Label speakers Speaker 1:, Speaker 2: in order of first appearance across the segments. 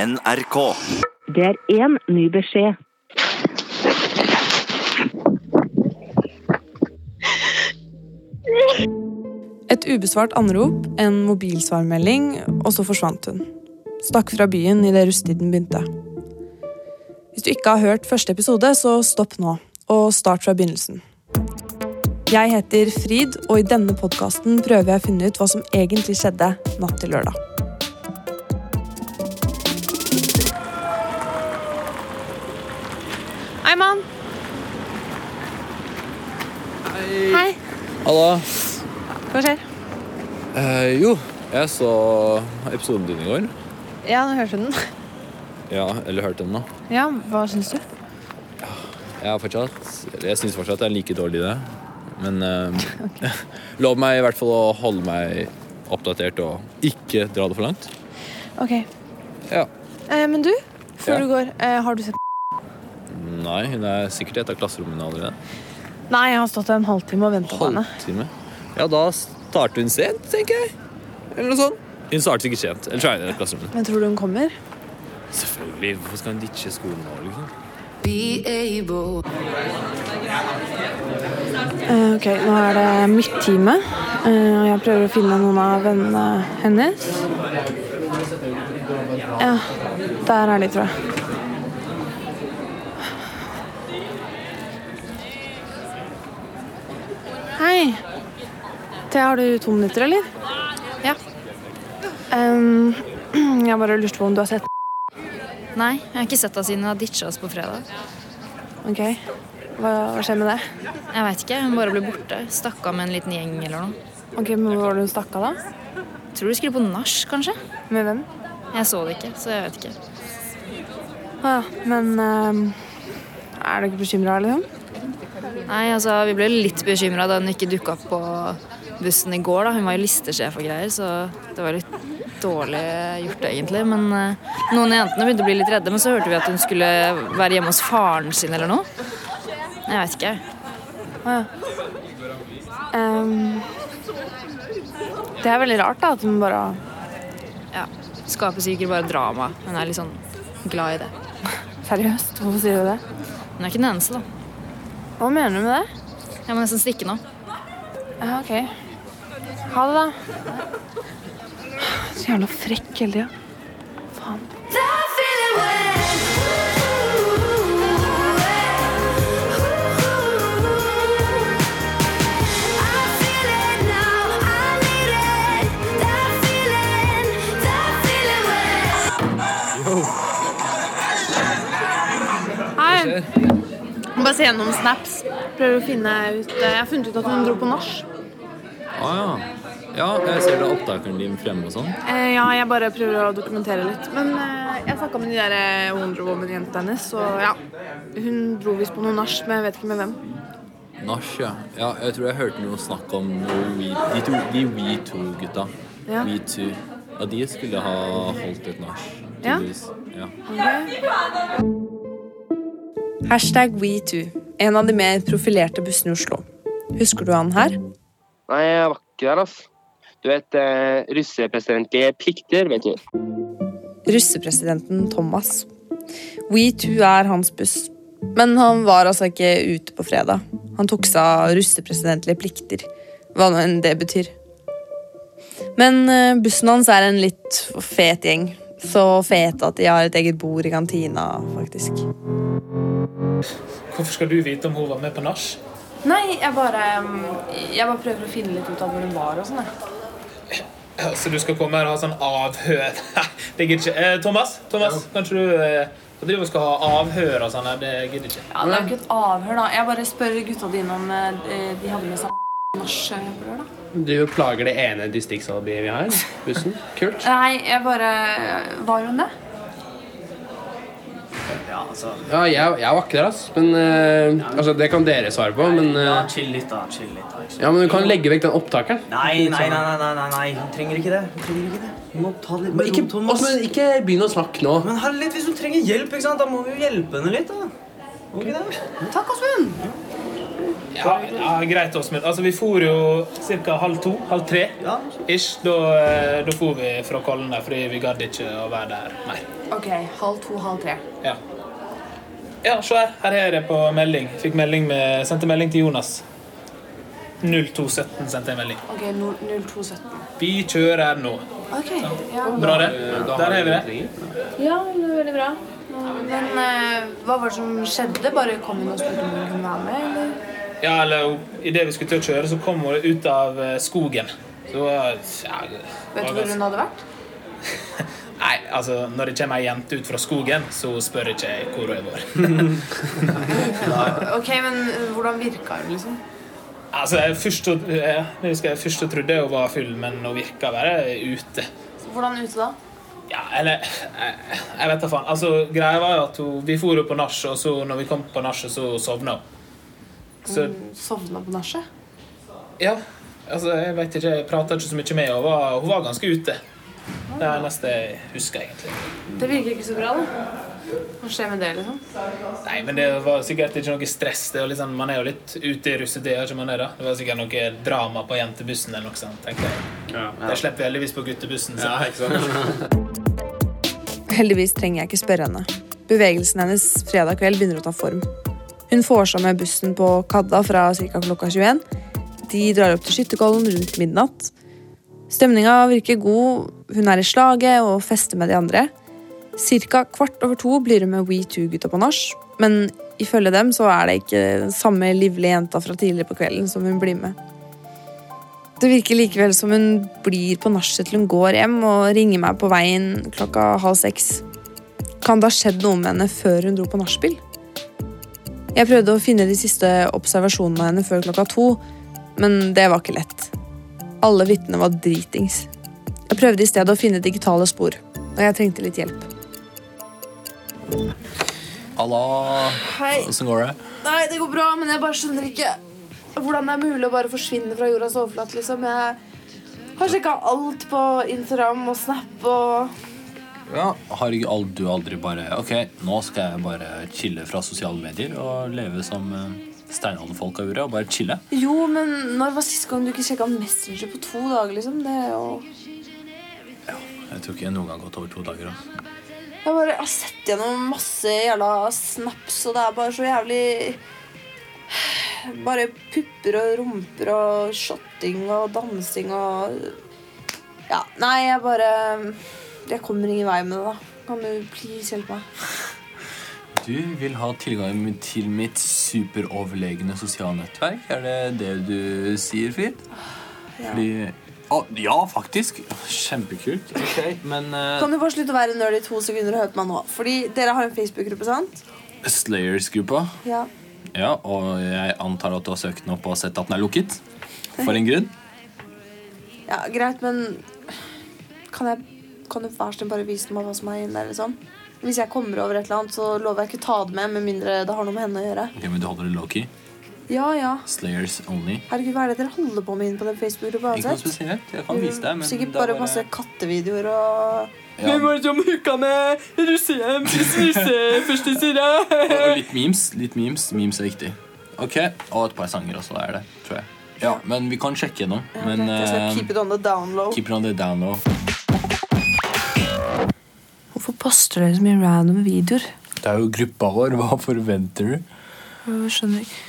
Speaker 1: NRK.
Speaker 2: Det er én ny beskjed.
Speaker 3: Et ubesvart anrop, en mobilsvarmelding, og så forsvant hun. Stakk fra byen idet rusttiden begynte. Hvis du ikke har hørt første episode, så stopp nå, og start fra begynnelsen. Jeg heter Frid, og i denne podkasten prøver jeg å finne ut hva som egentlig skjedde natt til lørdag. Hei, mann. Hei.
Speaker 4: Halla.
Speaker 3: Hva skjer?
Speaker 4: Eh, jo, jeg så episoden din i går.
Speaker 3: Ja, nå hørte du den.
Speaker 4: Ja, eller hørte den, da.
Speaker 3: Ja, hva syns du?
Speaker 4: Jeg har fortsatt eller Jeg syns fortsatt jeg er like dårlig i det. Men eh, lov meg i hvert fall å holde meg oppdatert og ikke dra det for langt.
Speaker 3: Ok,
Speaker 4: Ja.
Speaker 3: eh, men du, før
Speaker 4: Ja.
Speaker 3: du går, eh, har du sett
Speaker 4: Nei, hun er sikkert i et av klasserommene allerede.
Speaker 3: Nei, jeg har stått der en halvtime og venta på henne.
Speaker 4: Halvtime. Ja, da starter hun sent, tenker jeg. Eller noe sånt. Hun starter sikkert sent. Ellers er hun i et av klasserommene.
Speaker 3: Men tror du hun kommer?
Speaker 4: Selvfølgelig. Hvorfor skal hun ditche skolen nå, liksom?
Speaker 3: Eh, ok, nå er det midttime, eh, og jeg prøver å finne noen av vennene hennes. Ja, der er de, tror jeg. Hei. Thea, har du to minutter, eller? Ja. jeg bare lurte på om du har sett
Speaker 5: Nei, jeg har ikke sett henne siden hun har ditcha oss på fredag.
Speaker 3: Ok, hva, hva skjer med det?
Speaker 5: Jeg vet ikke, Hun bare ble borte. Stakk av med en liten gjeng eller noe.
Speaker 3: Ok, men Hvor var det hun stakk av, da?
Speaker 5: Tror du skulle på nach, kanskje?
Speaker 3: Med hvem?
Speaker 5: Jeg så det ikke, så jeg vet ikke.
Speaker 3: Ah, ja, men ehm, er du ikke bekymra, liksom?
Speaker 5: Nei, altså, Vi ble litt bekymra da hun ikke dukka opp på bussen i går. da. Hun var jo listesjef og greier, så det var litt dårlig gjort, egentlig. Men eh, noen av jentene begynte å bli litt redde, men så hørte vi at hun skulle være hjemme hos faren sin eller noe. Jeg vet ikke.
Speaker 3: Ehm, det er veldig rart, da, at hun bare
Speaker 5: Ja, Skaper sikkert bare drama. Hun er litt sånn glad i det.
Speaker 3: Seriøst, hvorfor sier du det?
Speaker 5: Hun er ikke den eneste, da.
Speaker 3: Hva mener du med det?
Speaker 5: Jeg må nesten stikke nå.
Speaker 3: Ja, ok. Ha det, da. Så jævla frekk hele tida. Faen. Hei. Bare se gjennom snaps. Prøver å finne ut eh, Jeg har funnet ut at hun dro på nach.
Speaker 4: Å ja. Ah, Ja, jeg ser det er opptakeren din fremme og sånn.
Speaker 3: Eh, ja, jeg bare prøver å dokumentere litt. Men eh, jeg snakka med de der eh, Wonder Woman-jentene hennes, og ja. Hun dro visst på noe nach, men jeg vet ikke med hvem.
Speaker 4: Nach, ja. ja. Jeg tror jeg hørte noe snakk om noe We, de, to, de We Too-gutta.
Speaker 3: Ja.
Speaker 4: We Too. Ja, de skulle ha holdt et nach.
Speaker 3: Ja.
Speaker 4: tydeligvis. ja.
Speaker 3: Hashtag WeToo. En av de mer profilerte bussene i Oslo. Husker du han her?
Speaker 6: Nei, jeg var ikke der, altså. Du vet, eh, russepresidentlige plikter, vet du.
Speaker 3: Russepresidenten Thomas. WeToo er hans buss. Men han var altså ikke ute på fredag. Han tok seg av russepresidentlige plikter. Hva nå enn det betyr. Men eh, bussen hans er en litt fet gjeng. Så fet at de har et eget bord i kantina, faktisk.
Speaker 7: Hvorfor skal du vite om hun var med på nach?
Speaker 3: Nei, jeg bare Jeg bare prøver å finne litt ut av hvor hun var og sånn,
Speaker 7: Så du skal komme her og ha sånn avhør? det gidder ikke. Eh, Thomas, Thomas, kanskje du eh, du driver og skal ha avhør og sånn? her, Det gidder ikke.
Speaker 3: Ja, det er jo ikke et avhør, da. Jeg bare spør gutta dine om eh, de hadde med seg nach eh, på lørdag.
Speaker 8: Du plager det ene distriktsalibiet vi har. Bussen. Kult.
Speaker 3: Nei, jeg bare eh, Var hun det?
Speaker 8: Ja, jeg, jeg var ikke der, ass. Men eh, altså, det kan dere svare på. Men,
Speaker 9: Ja,
Speaker 8: eh,
Speaker 9: chill litt, da. chill litt da.
Speaker 8: ja, men du kan legge vekk den opptakeren.
Speaker 9: Nei, nei, nei, nei, nei, nei, nei. hun trenger ikke det. Hun trenger ikke det. Hun må ta det
Speaker 8: Men
Speaker 9: litt med
Speaker 8: ikke, altså,
Speaker 9: ro, Thomas.
Speaker 8: men ikke begynn å snakke nå.
Speaker 9: Men herlighet, hvis hun trenger hjelp, ikke sant? da må vi jo hjelpe henne litt. da. Må vi ikke det?
Speaker 3: Takk, Åsmund.
Speaker 7: Ja, ja Greit, Åsmund. Altså, vi for jo ca. halv to, halv tre
Speaker 9: Ja.
Speaker 7: ish. Da, eh, da for vi fra Kollen der fordi vi gadd ikke å være der mer.
Speaker 3: Ok, halv to, halv tre.
Speaker 7: Ja. Ja, se her. Her er det på melding. Fikk melding med, sendte melding til Jonas. 0217 sendte jeg melding.
Speaker 3: Ok, 0217.
Speaker 7: Vi kjører nå.
Speaker 3: Ok, ja.
Speaker 7: Bra, det. Der Eh, har vi det.
Speaker 3: Ja, det er veldig bra. Men eh, hva var det som skjedde? Bare kom hun og spurte om hun kunne være med, eller?
Speaker 7: Ja, eller idet vi skulle til å kjøre, så kom hun ut av eh, skogen. Så eh, ja, det var ganske-
Speaker 3: hadde vært?
Speaker 7: Nei, altså, når det kommer ei jente ut fra skogen, så spør ikke jeg hvor hun var.
Speaker 3: Ok, men eh, hvordan virka hun, liksom?
Speaker 7: Altså, jeg først, tro- eh, jeg husker jeg først trodde hun var full, men hun virka å være ute.
Speaker 3: Hvordan ute da?
Speaker 7: Ja, eller eh, Jeg vet da faen. Altså, greia var jo at hun, vi for jo på nach, og så når vi kom på nachet, så sovna hun. Så
Speaker 3: Sovna på nachet?
Speaker 7: ja. Altså, jeg vet ikke, jeg prata ikke så mye med henne. Hun var- Hun var ganske ute. Det er det neste jeg husker, egentlig.
Speaker 3: Det virker ikke så bra, da. Hva skjer med det, liksom?
Speaker 7: Nei, men det var sikkert ikke noe stress. Det var litt sånn, man er jo litt ute i russetida. ikke man er da? Det var sikkert noe drama på jentebussen eller noe sånt. tenkte jeg. Det slipper vi heldigvis på guttebussen. Så.
Speaker 3: Heldigvis trenger jeg ikke spørre henne. Bevegelsen hennes fredag kveld begynner å ta form. Hun får seg med bussen på Kadda fra ca. klokka 21. De drar opp til Skytterkollen rundt midnatt. Stemninga virker god, hun er i slaget og fester med de andre. Cirka kvart over to blir hun med We Too-gutta på nach, men ifølge dem så er det ikke den samme livlige jenta fra tidligere på kvelden som hun blir med. Det virker likevel som hun blir på nachet til hun går hjem og ringer meg på veien klokka halv seks. Kan det ha skjedd noe med henne før hun dro på nachspiel? Jeg prøvde å finne de siste observasjonene av henne før klokka to, men det var ikke lett. Alle vitnene var dritings. Jeg prøvde i stedet å finne digitale spor, og jeg trengte litt hjelp.
Speaker 4: Halla.
Speaker 3: Hei.
Speaker 4: Åssen går det?
Speaker 3: Nei, det går bra, men jeg bare skjønner ikke hvordan det er mulig å bare forsvinne fra jordas overflate, liksom. Jeg har sjekka alt på Instagram og Snap og
Speaker 4: Ja, Har ikke al- du aldri bare Ok, nå skal jeg bare chille fra sosiale medier og leve som eh, steinalderfolk har gjort, og bare chille?
Speaker 3: Jo, men når var sist gang du ikke sjekka Messenger på to dager? liksom? Det er jo...
Speaker 4: Jeg tror ikke jeg noen gang har gått over to dager. Altså.
Speaker 3: Jeg bare har sett gjennom masse jævla snaps, og det er bare så jævlig Bare pupper og rumper og shotting og dansing og Ja, nei, jeg bare Jeg kommer ingen vei med det, da. Kan du please hjelpe meg?
Speaker 4: Du vil ha tilgang til mitt superoverlegne sosiale nettverk? Er det det du sier, Frid?
Speaker 3: Ja.
Speaker 4: Fordi Å, ja, faktisk. Kjempekult. Ok, Men eh,
Speaker 3: Kan du bare slutte å være nerd i to sekunder og høre på meg nå? Fordi dere har en Facebook-gruppe, sant?
Speaker 4: Slayers-gruppa
Speaker 3: Ja.
Speaker 4: Ja, og jeg antar at du har søkt den opp og sett at den er lukket? For en grunn?
Speaker 3: Ja, greit, men kan, jeg, kan du hver sin bare vise meg hva som er inne der, liksom? Hvis jeg kommer over et eller annet, så lover jeg ikke å ta det med, med mindre det har noe med henne å gjøre.
Speaker 4: Ok, Men du holder det lowkey?
Speaker 3: Ja, ja.
Speaker 4: Slayers only?
Speaker 3: Herregud, hva er det dere holder på med inne på den Facebook-gruppa
Speaker 4: Ikke noe
Speaker 3: uansett?
Speaker 4: spesielt. Jeg kan vise deg, men
Speaker 3: Sikkert
Speaker 4: det er
Speaker 3: bare masse kattevideoer og
Speaker 4: Ja.
Speaker 3: Hvem var det som hooka med russehjem første side?
Speaker 4: Og og litt memes. Litt memes. Memes er viktig. Ok, Og et par sanger også. er det, tror jeg. Ja, Men vi kan sjekke gjennom. Men eh,
Speaker 3: Jeg skal keep it on the down low.
Speaker 4: keep it on the down low.
Speaker 3: Hvorfor poster dere så mye random videoer?
Speaker 4: Det er jo gruppa vår. Hva forventer du?
Speaker 3: Skjønner ikke.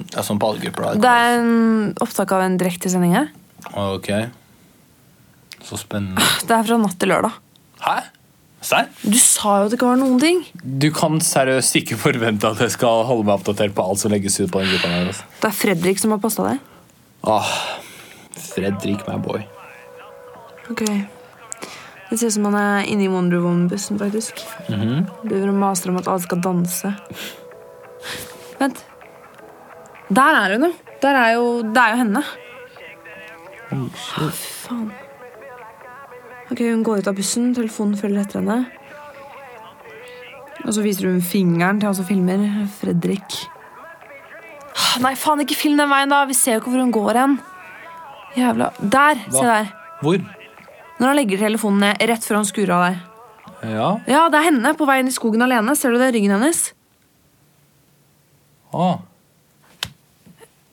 Speaker 4: Det er sånn på alle grupper.
Speaker 3: Det er en opptak av en direktesending her.
Speaker 4: Ok. Så spennende.
Speaker 3: Det er fra natt til lørdag.
Speaker 4: Hæ? Serr?
Speaker 3: Du sa jo at det ikke var noen ting.
Speaker 4: Du kan seriøst ikke forvente at jeg skal holde meg oppdatert på alt som legges ut på den gruppa der. Altså.
Speaker 3: Det er Fredrik som har posta det.
Speaker 4: Åh, Ah, Fredrik, my boy.
Speaker 3: Ok. Det ser ut som han er inne i Wonder Woman-bussen, faktisk. Driver og maser om at alle skal danse. Vent. Der er hun, jo. Der er jo, det er jo henne. Å, faen. Ok, Hun går ut av bussen, telefonen følger etter henne. Og så viser hun fingeren til han som filmer. Fredrik. Ah, Nei, faen, ikke film den veien, da! Vi ser jo ikke hvor hun går hen. Jævla Der! Se
Speaker 4: Hva?
Speaker 3: der.
Speaker 4: Hvor?
Speaker 3: Når han legger telefonen ned rett før han skrur av der.
Speaker 4: Ja.
Speaker 3: Ja, det er henne på vei inn i skogen alene. Ser du det? Ryggen hennes.
Speaker 4: Åh.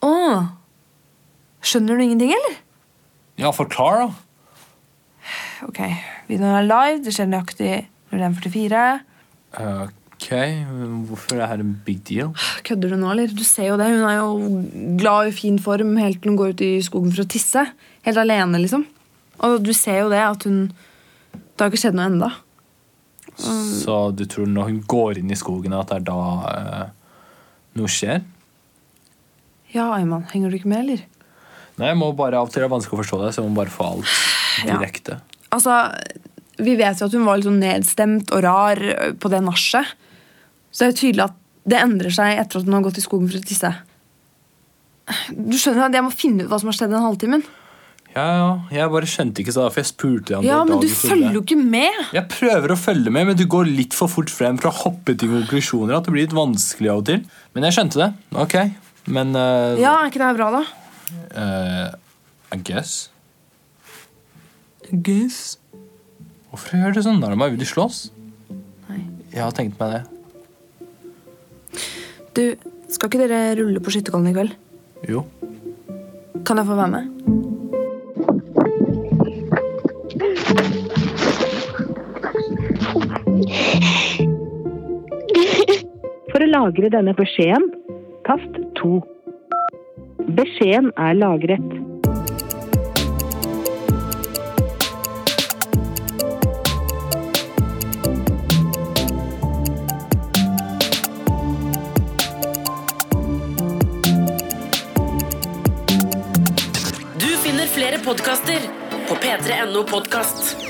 Speaker 3: Åh. Skjønner du ingenting, eller?
Speaker 4: Ja, forklar, da.
Speaker 1: Ok, videoen er live. Det skjer nøyaktig 01.44.
Speaker 4: Ok, hvorfor er det en big deal?
Speaker 3: Kødder du nå, eller? Du ser jo det. Hun er jo glad og i fin form helt til hun går ut i skogen for å tisse. Helt alene, liksom. Og du ser jo det at hun Det har ikke skjedd noe enda. Mm.
Speaker 4: Så du tror når hun går inn i skogen, at det er da eh, noe skjer?
Speaker 3: Ja, Ayman, henger du ikke med, eller?
Speaker 4: Nei, jeg må bare Av og til er det vanskelig å forstå det, så jeg må bare få alt
Speaker 3: Ja.
Speaker 4: direkte.
Speaker 1: Altså, vi vet jo at hun var litt sånn nedstemt og rar ø, på det nachet. Så det er jo tydelig at det endrer seg etter at hun har gått i skogen for å tisse. Du skjønner at Jeg må finne ut hva som har skjedd den halvtimen.
Speaker 4: Ja, ja, Jeg bare skjønte ikke så derfor jeg spurte deg om
Speaker 1: Ja,
Speaker 4: det var
Speaker 1: men
Speaker 4: da
Speaker 1: du
Speaker 4: trodde
Speaker 1: følger jo ikke med!
Speaker 4: Jeg prøver å følge med, men du går litt for fort frem for å hoppe til konklusjoner. At det blir litt vanskelig av og til. Men jeg skjønte det. Ok. Men eh,
Speaker 1: Ja, Er ikke det her bra, da?
Speaker 4: eh, I guess. I guess. Hvorfor gjør du sånn? Er det meg? Vil du slåss? Nei. Jeg har tenkt meg det.
Speaker 1: Du, Skal ikke dere rulle på skytterkollen i kveld?
Speaker 4: Jo.
Speaker 1: Kan jeg få være med?
Speaker 2: For å lagre denne beskjeden, tast 2. Beskjeden er lagret.
Speaker 10: Du finner flere podkaster på p3.no podkast.